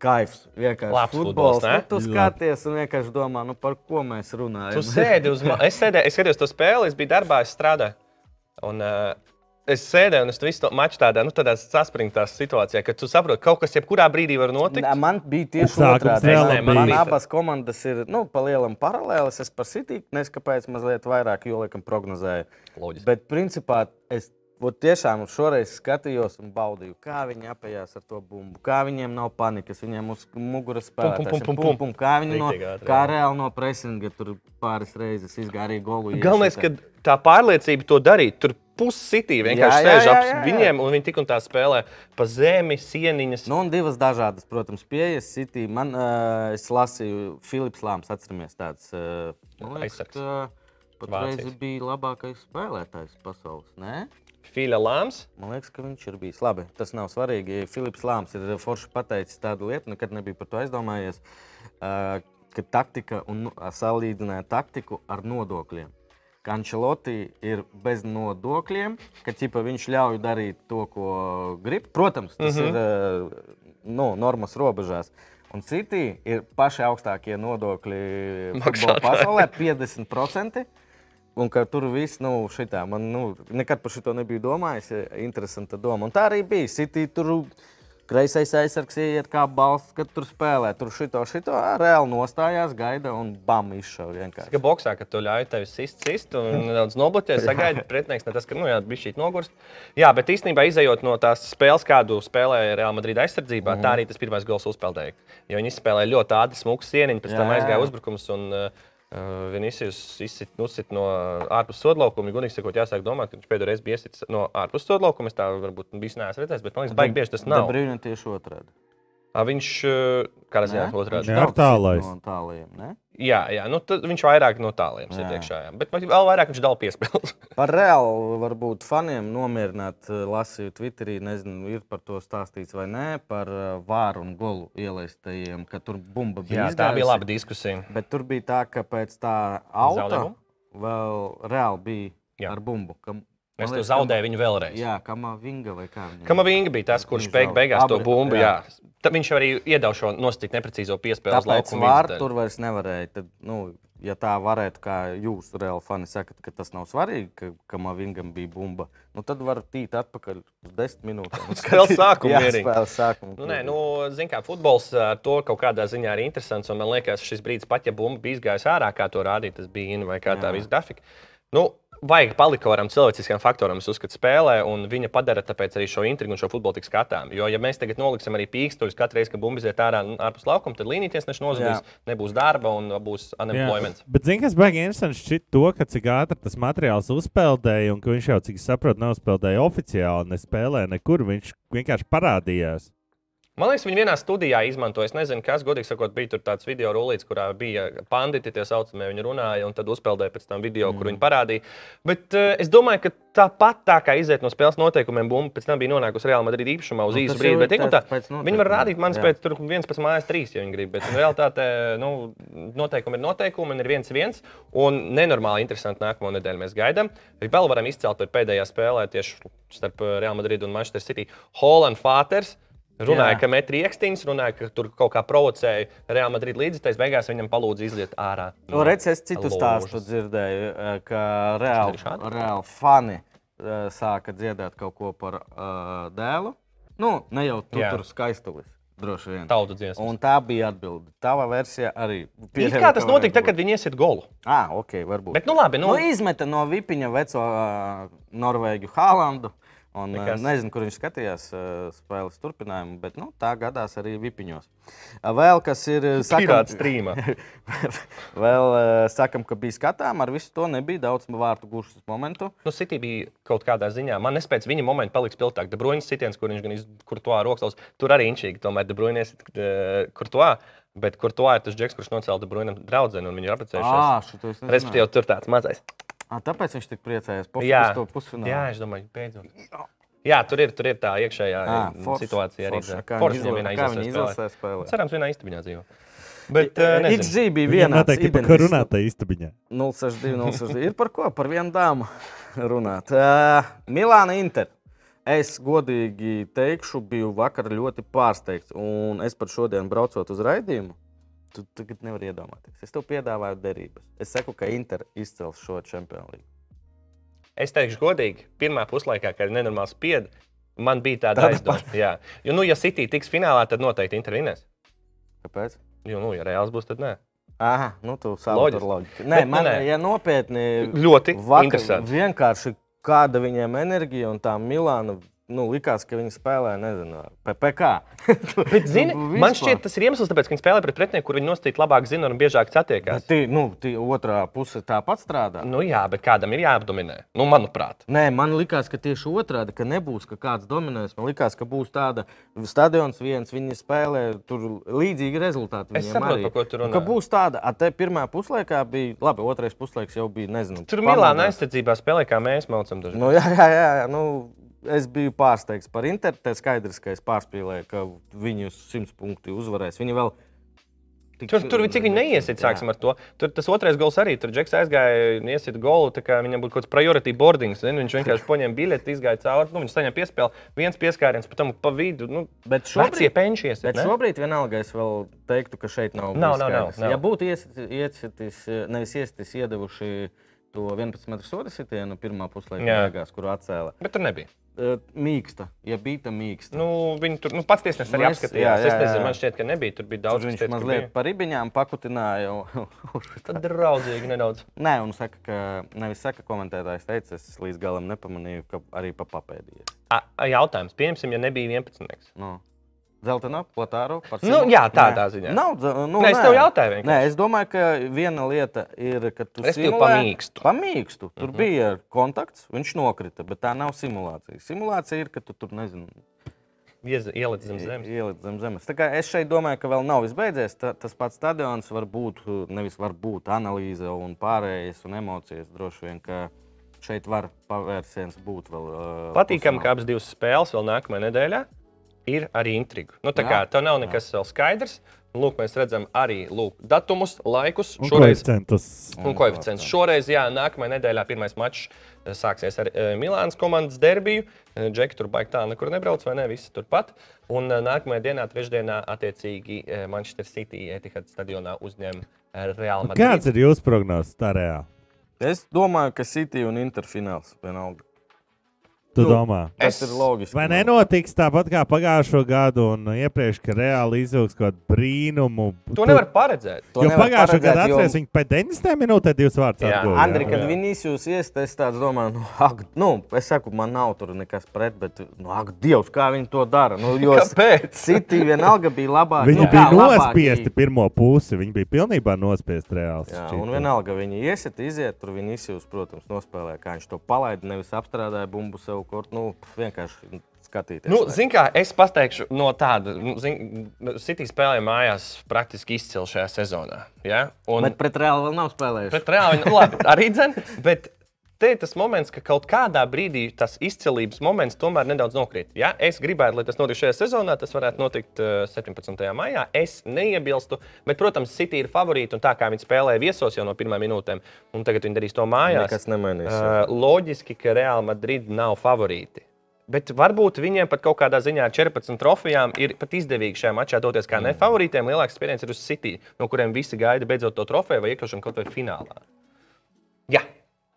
A: kaifs. Vienkārši
B: Labs futbols, ne?
A: Nu, tu skaties un vienkārši domā, nu, par ko mēs runājam.
B: Tu sēdi uz malas. Es, sēdēju- es skatījos to spēli, es biju darbā, es strādāju. Un, uh, es sēdēju un es visu to maču tādā, nu, tādā saspringtā situācijā, ka tu saproti, ka kaut kas jebkurā brīdī var notikt.
A: Nā, Man bija tieši
C: Sākums
A: otrādi.
C: reāli
A: Man, man
B: bija.
A: abas komandas ir nu, palielam paralēlis. Es par City nezinu, kāpēc mazliet vairāk, jo laikam prognozēju.
B: Loģiski.
A: Bet principā es vot, tiešām šoreiz skatījos un baudīju, kā viņi apējās ar to bumbu, kā viņiem nav panikas, viņiem uz muguras spēlē.
B: pum, pum, pum, pum.
A: Kā viņi no,
B: Riktīgi ātri,
A: kā
B: jā.
A: reāli no presinga tur pāris reizes izgāja arī golu.
B: Galvenais, ka
A: iešita.
B: tā pārliecība to darīt. Tur pussitī
A: Jā,
B: vienkārši
A: jā,
B: sēž
A: jā,
B: ap
A: jā, jā.
B: viņiem, un viņi tik un tā spēlē pa zemi, sieniņas.
A: Nu, un divas dažādas, protams, pieejas. City. Man, uh, es lasīju, Filips Lāms, atceramies, tāds uh,
B: Aizsargs.
A: Patreiz
B: Vācijas.
A: bija labākais spēlētājs pasaules. Nē?
B: Fīla Lāms.
A: Man liekas, ka viņš ir bijis labi. Tas nav svarīgi. Filips Lāms ir forši pateicis tādu lietu, nekad nebija par to aizdomājies. ā, Ka taktika un nu, salīdzināja taktiku ar nodokļiem. Ka Ančeloti ir bez nodokļiem, ka ķipa, viņš ļauj darīt to, ko grib. Protams, tas mm -hmm.
B: Mhm.
A: ir ā, nu, normas robežās. Un citi ir paši augstākie nodokļi futbola
B: Maksātāji.
A: pasaulē - 50%. Un ka tur viss, nu, šitā, man nu, nekad par šo nebiju domājis. e, Interesanta doma. Un tā arī bija. City tur kreisais aizsargs ieiet kā balsts, kad tur spēlē. Tur šito, šito ā, reāli nostājās, gaida un bam, izšauja vienkārši.
B: Kā boxā, kad tu ļauj tev sist, sist un nedaudz noblūties, sagaidi pretinieks, ne tas, ka, nu, jā, bija šī nogurst. Jā, bet īstenībā, izējot no tās spēles, kādu spēlēja Real Madrid aizsardzībā,
A: Mhm.
B: mm. tā arī tas pirmais gols uzpeldēja. Jo viņi spēlēja ļoti ātri, smuku sieniņu, pēc tam
A: Jā.
B: aizgāja uzbrukums. Un, Uh, Vinicius izsit, nusit no ārpus sodlaukuma. Gunīgi sakot, jāsāk domāt, ka viņš pēdējo reizi bija iesitis no ārpus sodlaukuma. Es tā varbūt bijis neesmu redzējis, bet man liekas, baigi bieži tas nav.
A: Brīnum tieši otrādi.
B: Ā, Viņš, uh, kā
A: Nē?
B: redzējāt, otrādi.
C: Jā.
A: Viņš
C: ar
A: daudz
C: tālais.
A: sit No tāliem, ne?
B: Jā, jā, nu, tad viņš vairāk no tāliem
A: Jā.
B: sēdēkšā. Bet vēl vairāk viņš dala piespēles.
A: Par reāli varbūt faniem nomierināt, eh, lasīju Twitterī, nezinu, ir par to stāstīts vai nē, par eh, vāru un golu ielaistajiem, ka tur bumba bija.
B: Jā, tā bija
A: izgājusi.
B: laba diskusija.
A: Bet tur bija tā, ka pēc tā auta
B: Zaudējumu?
A: vēl reāli bija
B: Jā.
A: jā. ar bumbu. Kam,
B: Es to zaudēju viņu vēlreiz.
A: nu- Jā, kamā vinga vai kā viņa.
B: Kamavinga bija tas, kurš
A: Viņš
B: beig,
A: zaudē.
B: beigās to
A: Abri-
B: bumbu. Jā.
A: jā.
B: Tad viņš arī iedeva šo nosacīt neprecīzo piespēli uz
A: Tāpēc
B: laukuma.
A: vārdu
B: vidusdaļu.
A: tur vairs nevarēja. Tad, nu, ja tā varētu, kā jūs reāli fani sakat, ka tas nav svarīgi, ka kamā vingam bija bumba, nu, tad var tīt atpakaļ uz desmit minūtēm.
B: Spēles sākumu
A: jā,
B: mierīgi.
A: spēles sākumu.
B: Nu, nē, nu, zin kā, futbols ar to kaut kādā ziņā ir interesants. un Man liekas, šis brīdis, pat ja bumba bija izgājusi ārā, kā to rādīja, tas bija in vai kā tā
A: Jā.
B: visa grafika. Nu, Vajag palikt kaut kādam cilvēciskam faktoram, es uzskatu, spēlē, un viņa padara tāpēc arī šo intrigu un šo futbolu tik skatām. Jo, ja mēs tagad noliksim arī pīkstuļus katru reizi, kad bumbiņš iet ārā un ārpus laukuma, tad līnijas nešu nozudīs,
A: Jā.
B: nebūs darba un būs unemployment.
C: Bet, zini, kas bija interesanti, šķiet, to, ka cik ātri tas materiāls uzpeldēja, un ka viņš jau, cik es saprotu, nav spēlējis oficiāli, ne spēlē nekur. Viņš vienkārši parādījās.
B: Man liekas, viņi vienā studijā izmantoja. Es nezinu, kas, godīgi sakot, bija tur tāds video rullīts, kurā bija bandīti, tie saucamie, viņi runāja, un tad uzpeldēja pēc tam video, mm. kur viņi parādīja. Bet uh, es domāju, ka tāpat tā kā iziet no spēles noteikumiem, bumba pēc tam bija nonākusi Real Madrid īpašumā uz
A: Nu,
B: nu, īsu
A: tas jau
B: brīdi.
A: ir
B: Bet, tik un
A: tā-
B: tā,
A: pēc noteikumiem,
B: viņi var rādīt manas
A: jā.
B: pēc tur viens pēc mājas trīs, ja viņi grib. Bet nu, realtātē nu, noteikumi ir noteikumi, un ir viens viens. Un nenormāli interesanti nākamo nedēļu mēs gaidām. Vēl varam izcelt par pēdējā spēlē tieši starp eh, Real Madrid un Manchester City. Holland Fāters. Runāja,
A: Jā.
B: ka met rīkstiņš, runāja, ka tur kaut kā provocēja Real Madrid līdzekļus. Beigās viņam palūdza iziet ārā.
A: Nu, redz, es citu stāstu
B: ložas.
A: dzirdēju, eh, ka reāli,
B: Tas ir šādi?
A: reāli fani eh, sāka dziedāt kaut ko par uh, eh, dēlu. Nu, ne jau tu,
B: Jā.
A: tur skaistulis. Droši vien.
B: Tautu dziesmu.
A: Un tā bija atbilde. Tava versija arī.
B: It kā tas notika, tad, kad viņi iesiet golu.
A: Ah, ok, varbūt.
B: Bet, nu, labi,
A: Nu,
B: nu,
A: izmeta no vipiņa veco uh, Norvēģu Hālandu. Un, uh,
B: Nekas.
A: nezinu, kur viņš skatījās uh, spēles turpinājumu, bet nu, tā gadās arī vipiņos. Uh, vēl kas ir. uh, sakam-
B: pirāta strīma.
A: vēl uh, sakam, ka bija skatām, ar visu to nebija daudz vārtu gūšanas momentu.
B: Nu, City bija kaut kādā ziņā. Man nespēja viņa momentu palikt spilgtāk. Debruņas sitiens, kur viņš gan iz- kur to rokas, tur arī inčīgi. Tomēr Debruņas, kur to, bet kur to ir tas džeks, kurš nocēla Debruņam draugu un viņu ir apprecējušies.
A: šo to es nezināju.
B: Respektīvi, jau tur tāds mazais.
A: Ā, tāpēc viņš tik priecājās. Pofik,
B: Jā.
A: uz to pusfinālu.
B: Jā, es domāju, beidzot. Jā, tur ir, tur ir tā iekšējā
A: Ā,
B: mm,
A: forši,
B: situācija arī.
A: forši.
B: tā.
A: Kā
B: Forši
A: viņi
B: viņam
A: izla-
B: vienā
A: kā viņi
B: izlasē
A: izlasē
B: spēlē.
A: spēlē.
B: Cerams, vienā istabiņā dzīvo. Bet, eh,
A: Eh,
B: nezinu.
A: XG bija
C: Viņam
A: viena.
C: noteikti par ko runāt tajā istabiņā.
A: 062, 062. Ir par ko? Par vienu dāmu runāt. Uh, Milāna Inter. Es godīgi teikšu, biju vakar ļoti pārsteigts. Un es pat šodien braucot uz raidījumu, tu tagad nevari iedomāties. Es tev piedāvāju derības. Es saku, ka Inter izcels šo čempionu līniju.
B: Es teikšu, godīgi, pirmā puslaikā, kad ir nenormāli spied, man bija tāda
A: Tāda
B: aizdoma. Jā, jo, nu, ja City tiks finālā, tad noteikti intervinēs.
A: Kāpēc?
B: Jo, nu, ja reāls būs, tad nē.
A: Aha, nu tu saproti
B: Loģiski.
A: ar loģiku. Nē,
B: Bet, nu,
A: man
B: nē.
A: ja nopietni.
B: Ļoti
A: Vakar
B: interesanti.
A: vienkārši kāda viņiem enerģija un tā Milāna. Nu, likās, ka viņi spēlē, nezinu, PPC.
B: Bet, zini,
A: Nu,
B: man šķiet, tas ir iemesls, kāpēc viņi spēlē pret pretinieku, kur viņi nostīt labāk zina un biežāk satiekās.
A: Tī, nu, tī otrā puse tāpat strādā.
B: Nu, jā, bet kādam ir jāapdominē. Nu, manuprāt,
A: Nē, man liekas, ka tieši otrādi, ka nebūs, ka kāds dominēs. Man liekas, ka būs tāda stadions viens, viņi spēlē tur līdzīgi rezultāti.
B: Es
A: viņiem
B: saprotu,
A: arī.
B: par ko tu
A: Un
B: runā.
A: Ka būs tāda, ah, te pirmā puslaikā bija, labi, otrais puslaiks jau bija, nezinu.
B: tur
A: pamodies.
B: Milāna aizsardzībā spēlē, kā mēs maucam dažreiz.
A: Nu, jā, jā, jā, jā. Nu, es biju pārsteigts par Interu. Tas skaidrs, ka es pārspīlēju, ka viņu simts punkti uzvarēs. Viņi vēl. tik-
B: Tur, tur cik viņi neiesiet,
A: Jā.
B: sāksim ar to. Tur tas otrais gols arī. Tur Džeks aizgāja, iesit golu, tā kā viņam būtu kaut kāds priority boarding. Zin, viņš vienkārši paņēma biļeti, izgāja cauri, nu, viņš saņēma piespēli, viens pieskāriens, pēc tam pa vidu. Nu,
A: Bet
B: Šobrīd
A: šobrīd,
B: penšies.
A: bet šobrīd vienalga es vēl teiktu, ka šeit nav.
B: Nav,
A: bijis
B: nav, nav,
A: skaidrs.
B: nav.
A: Ja būtu iesi- iecitis, nevis iesitis, iedevuši to 11 metru sodu sitienu pirmā
B: Jā.
A: puslaika beigās, kuru atcēla.
B: Bet tur nebija.
A: Eh, Mīksta, ja bija tā mīksta.
B: Nu, viņi tur nu, pats tiesnesis
A: Nu,
B: arī
A: es-
B: apskatījās.
A: jā, jā,
B: Es nezinu,
A: jā.
B: man šķiet, ka nebija. Tur bija
A: Tur
B: daudz
A: viņš mazliet par ribiņām pakutināja.
B: Tad draudzīgi nedaudz.
A: Nē, un saka, ka nevis saka, komentētājs teica, es līdz galam nepamanīju, ka arī pa papēdījies.
B: A, a, jautājums. Pieņemsim, ja nebija 11.
A: Nu. Zelta nav platāru par
B: Nu,
A: simu?
B: jā, tādā ziņā.
A: Nav, dze- nu,
B: Nē, es tev jautāju vienkārši.
A: Nē, es domāju, ka viena lieta ir, ka tu
B: Es tev
A: simulē-
B: pamīkstu.
A: Pamīkstu.
B: Mhm.
A: Tur mm -hmm. bija kontakts, viņš nokrita, bet tā nav simulācija. Simulācija ir, ka tu tur, nezinu,
B: Iez- Ielicis zem zemes.
A: Ielikt zem zemes. Tā kā es šeit domāju, ka vēl nav izbeidzies. Ta, tas pats stadions var būt, uh, nevis var būt analīze un pārējais un emocijas. Droši vien, ka šeit var pavērsiens būt vēl. Uh,
B: Patīkami,
A: pusfinālā.
B: ka abas divas spēles vēl nākamajā nedēļā ir arī intriga. Nu, tā
A: Jā.
B: kā tev nav nekas vēl skaidrs. Lūk, mēs redzam arī lūk, datumus, laikus.
C: Un
B: Šoreiz
C: koeficientus.
B: un koeficients. Šoreiz, jā, nākamajā nedēļā pirmais mačs eh, sāksies ar eh, Milānas komandas derbiju. Eh, Džeki tur baigta tā, nekur nebrauc, vai ne? Visi turpat. Un eh, nākamajā dienā, trešdienā, attiecīgi eh, Manchester City Etihad stadionā uzņem eh, Real Madrid.
C: Nu, Kāds ir jūsu prognozes tā reāli?
A: Es domāju, ka City un Interfināls vienalga.
C: Tu
A: Nu,
C: domā?
A: Tas
B: Es-
A: ir loģiski.
C: Vai nenotiks tāpat kā pagājušo gadu un iepriekš, ka reāli izvilks kaut kādu brīnumu?
B: To nevar paredzēt.
A: To
C: Jo
A: nevar
C: pagājušā gada
A: paredzēt, jo-
C: atcerēsimies, viņi pēc 90 minūtēm divas vārdas
B: Jā,
C: atguva.
A: Andri,
B: Jā,
A: kad
B: jā.
A: Vinīsijus iestājas, es tāds domāju, nu, ak, nu, es saku, man nav tur nekas pret, bet, nu, ak, Dievs, kā viņi to dara. Nu, jo
B: Kāpēc?
A: City vienalga bija labāka.
C: Viņi
A: nu,
C: nu, bija
A: kā labāki.
C: nospiesti pirmo pusi. Viņi bija pilnībā nospiesti reāli.
A: Jā,
C: šķiet.
A: un vienalga, viņi iesiet, iziet, tur viņi izjūs, protams, nospēlē, kā viņš to palaida. Nevis apstrādāja bumbu sev kaut kur, nu, pf, vienkārši skatīties.
B: Nu,
A: lai-
B: Ziniet, kā es pateikšu, no tāda nu, zin, nu, City spēlēja mājās praktiski izcili šajā sezonā. Ja? Un,
A: Bet pret Reāli vēl nav spēlējuši.
B: Pret reāli viņa labi, arī dzird. Bet te ir tas moments, ka kaut kādā brīdī tas izcēlības moments tomēr nedaudz nokrīt. Ja? Es gribētu, lai tas notiktu šajā sezonā, tas varētu notikt eh, 17. maijā. Es neiebilstu, bet, protams, City ir favorīti un tā kā viņi spēlēja viesos jau no pirmām minūtēm, un tagad viņi darīs to mājās.
A: Nekas nemainīsies.
B: Eh, Loģiski, ka Real Madrid nav favorīti. Bet varbūt viņiem pat kaut kādā ziņā ar 14 trofejām ir pat izdevīgi šajā mačā doties kā mm. nefavorītiem. Lielāks spiediens ir uz City, no kuriem visi gaida beidzot to trofeju vai iekļūšanu kaut vai finālā. Jā,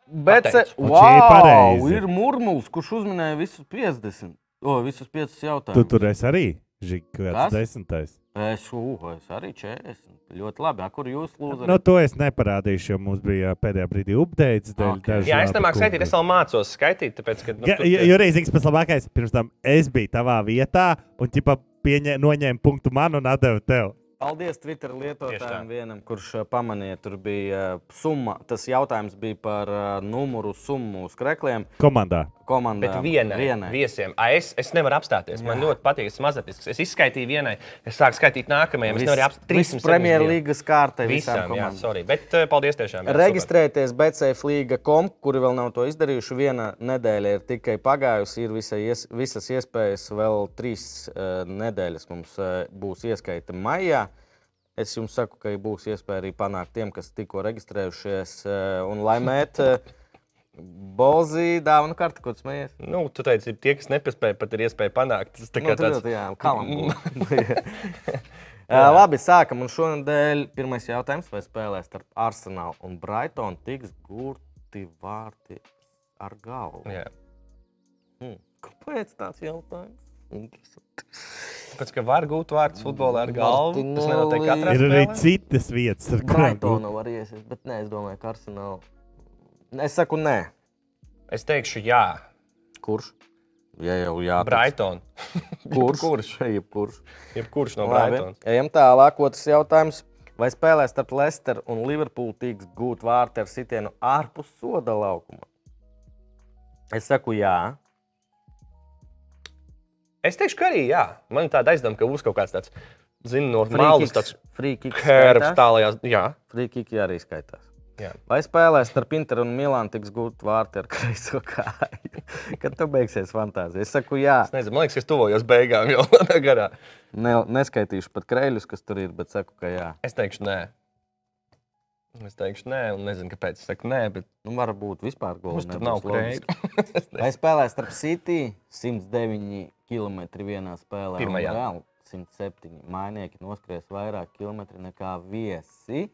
A: Bet
B: Pateicu.
A: wow,
C: Un šī ir pareizi.
A: ir murmuls, kurš uzminēja visus 50. O, visus 5
C: Tu
A: jautājumus.
C: tur esi arī. Žīgi,
A: Kas?
C: kāds desmitais.
A: Es, uh, es arī 40. Ļoti labi. A, kur jūs lūdzat?
C: Nu, to es neparādīšu, jo mums bija pēdējā brīdī updates.
A: Ah, Ok.
C: Okay.
B: Jā, es nemāku skaitīt, es vēl mācos skaitīt, tāpēc, ka. Nu,
C: Ja,
B: tur
C: ja,
B: tie-
C: jo reizīgs pats labākais, pirms tam es biju tavā vietā, un ķipa pieņē, noņēma punktu man un atdeva tev.
A: Paldies Twitter
B: Tieši tā.
A: lietotājiem, vienam, kurš ā, pamanīja, tur bija ā, summa. Tas jautājums bija par ā, numuru summu uz krekliem.
C: Komandā.
A: Komandai
B: Bet vienai, vienai.
A: vienai.
B: viesiem. A, es, es nevaru apstāties. Jā. Man ļoti patīk, es esmu mazatisks. Es izskaitīju vienai, es sāku skaitīt nākamajai. Es nevaru apstāties.
A: Premjerlīgas kārtai visām
B: Visām, jā,
A: komandām.
B: sorry. Bet eh, paldies tiešām. jā, super.
A: Reģistrēties BCFLīga.com, kuri vēl nav to izdarījuši. Viena nedēļa ir tikai pagājusi, ir visa ies, visas iespējas. Vēl trīs uh, nedēļas mums uh, būs ieskaita maijā. Es jums saku, ka būs iespēja arī panākt tiem, kas tikko reģistrējušies. Uh, un lai mēt uh, Bolzi dāvanu kartu, ko smējies.
B: Nu, tu teici, ir tie, kas nepaspēja, pat ir iespēja panākt. Tas tā kā
A: Nu, tur
B: tāds.
A: ļoti, jā, kalam būtu. Uh, Labi, sākam. Un šonadēļ pirmais jautājums, vai spēlēs starp Arsenalu un Brightonu tiks gurti vārti ar galvu?
B: Jā.
A: Hmm. Kāpēc tāds jautājums? Interesanti.
B: Tāpēc, ka var gūt vārdus futbolā ar galvu, tas
A: Martinelli.
B: nenotiek katrā
C: Ir arī
B: spēlē.
C: citas vietas, ar kurām gūt.
A: Brightonu nu var iesiet, bet nē, es domāju, ka Arsenalu. Es saku, nē.
B: Es teikšu, jā,
A: Kurš? Jā, jau jā.
B: Brighton.
A: Kurš? Kurš? Jebkurš.
B: Jebkurš no
A: Labi,
B: Brighton.
A: ejam tālāk. Otrs jautājums. Vai spēlē starp Leicesteru un Liverpoolu tiks gūt vārti ar sitienu ārpus soda laukuma? Es saku, jā.
B: Es teikšu, ka arī jā. Man ir tāda aizdoma, ka būs kaut kāds tāds, zinu, no malas tāds
A: frīķis.
B: kērps tālajās. Jā,
A: Frīķis arī skaitās.
B: Jā.
A: Vai spēlē starp Interu un Milānu tiks gūt vārti ar kreiso kāju? Kad tu beigsies fantāzija? Es saku, jā.
B: es nezinu, man liekas, ka es tuvojos beigām jau tā garā.
A: Ne, neskaitīšu pat kreļus, kas tur ir, bet saku, ka jā.
B: Es teikšu, nē. Es teikšu, nē, un nezinu, kāpēc es saku nē, bet
A: Nu, varbūt vispār gūlis
B: mums tur nav krēja.
A: Vai spēlē starp City 109 km vienā spēlē? un
B: Pirmajā.
A: Real 107. Mākslinieki noskries vairāk kilometru nekā viesi.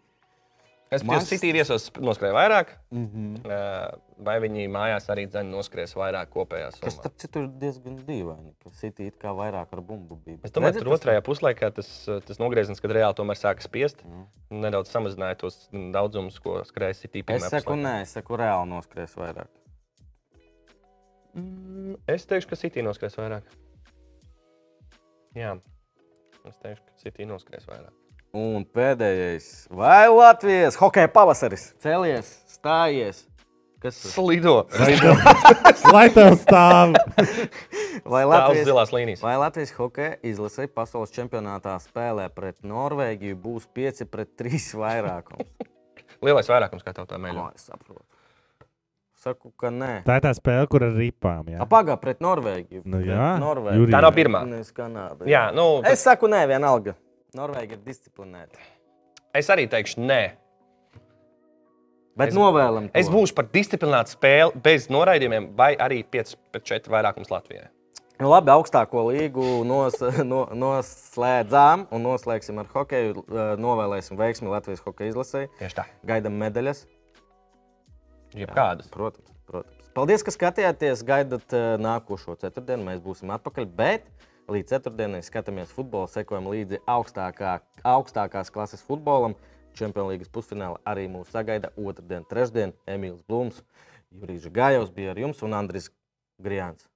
B: Es pie
A: Manchester-
B: City viesos noskrēju vairāk,
A: Mm -hmm.
B: eh, vai viņi mājās arī dzen noskries vairāk kopējā
A: Kas
B: summā.
A: starp citu ir diezgan dīvaini. Ka City it kā vairāk ar bumbu bija.
B: Es domāju, ka tur otrajā puslaikā tas, eh, tas nogrieziens, kad reāli tomēr sāka spiest,
A: Mm.
B: nedaudz samazināja tos mm, daudzumus, ko skrēja City
A: Es
B: pirmajā
A: saku,
B: puslaikā.
A: nē, es saku, reāli noskries vairāk.
B: Mm, Es teikšu, ka City noskries vairāk. Jā, es teikšu, ka City noskries vairāk.
A: Un pēdējais, vai Latvijas hokeja pavasaris cēlies, stājies? Kas tas ir?
B: Slido!
C: Lai tev stāv!
A: Vai
B: Stāv uz
A: Latvijas
B: zilās līnijas.
A: Vai Latvijas hokeja izlasē pasaules čempionātā spēlē pret Norvēģiju būs 5 pret 3 vairākums?
B: Lielais vairākums, kā tev tā
A: Ko
B: mēģina.
A: es saprotu? Saku, ka nē.
C: Tā ir tā spēle, kur ar ripām. jā.
A: Apagā pret Norvēģiju.
C: Nu
A: Pret
C: jā,
A: Norvēģiju.
C: Jurij.
B: Tā nav pirmā.
A: Nevis Kanāda.
B: Jā, nu,
A: Es saku, nē, vienalga. Norvēģija ir disciplinēta.
B: es arī teikšu, nē.
A: Bet
B: Es-
A: novēlam,
B: Es
A: to.
B: būšu par disciplinātu spēli bez noraidījumiem, vai arī 5 pret 4 vairākums Latvijai.
A: Nu, labi, augstāko līgu nos, no, noslēdzām un noslēgsim ar hokeju. Eh, Novēlēsim veiksmi Latvijas hokeja izlasē.
B: Tieši tā.
A: Gaidām medaļas.
B: Jebkādas.
A: Protams, protams. Paldies, ka skatījāties. Gaidat eh, nākošo ceturtdienu. Mēs būsim atpakaļ. Bet līdz ceturtdienai skatāmies futbolu, sekojam līdzi augstākā, augstākās klases futbolam. Čempionu līgas pusfinālā arī mūs sagaida otrdien, trešdien. Emīls Blūms, Jurijs Gājovs bija ar jums un Andris Grijāns.